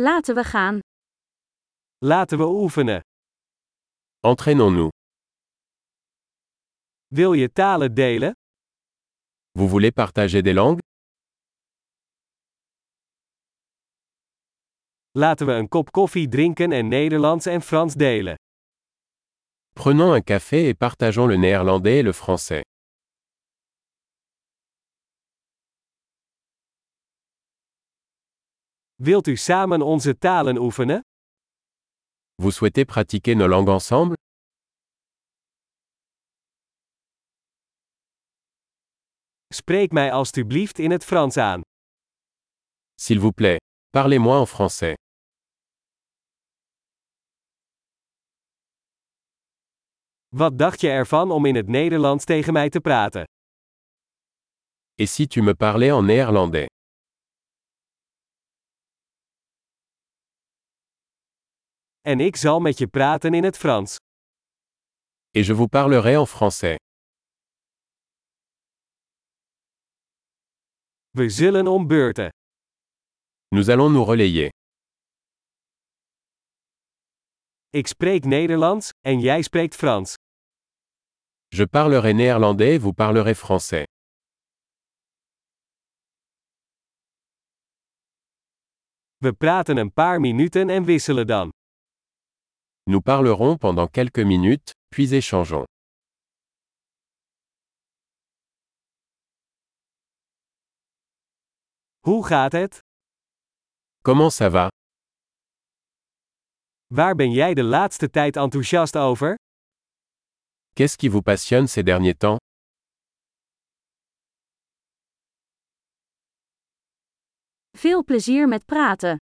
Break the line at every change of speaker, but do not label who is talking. Laten we gaan.
Laten we oefenen.
Entraînons-nous.
Wil je talen delen?
Vous voulez partager des langues
Laten we een kop koffie drinken en Nederlands en Frans delen.
Prenons un café et partageons le néerlandais et le français.
Wilt u samen onze talen oefenen?
Vous souhaitez pratiquer nos langues ensemble
Spreek mij alstublieft in het Frans aan.
S'il vous plaît, parlez-moi en français.
Wat dacht je ervan om in het Nederlands tegen mij te praten?
Et si tu me parlais en néerlandais
En ik zal met je praten in het Frans.
Et je vous parlerai en français.
We zullen om beurten.
Nous allons nous relayer.
Ik spreek Nederlands en jij spreekt Frans.
Je parlerai néerlandais et vous parlerez français.
We praten een paar minuten en wisselen dan.
Nous parlerons pendant quelques minutes, puis échangeons.
Hoe gaat het?
Comment ça va
Waar ben jij de laatste tijd enthousiast over?
Qu'est-ce qui vous passionne ces derniers temps
Veel plezier met praten.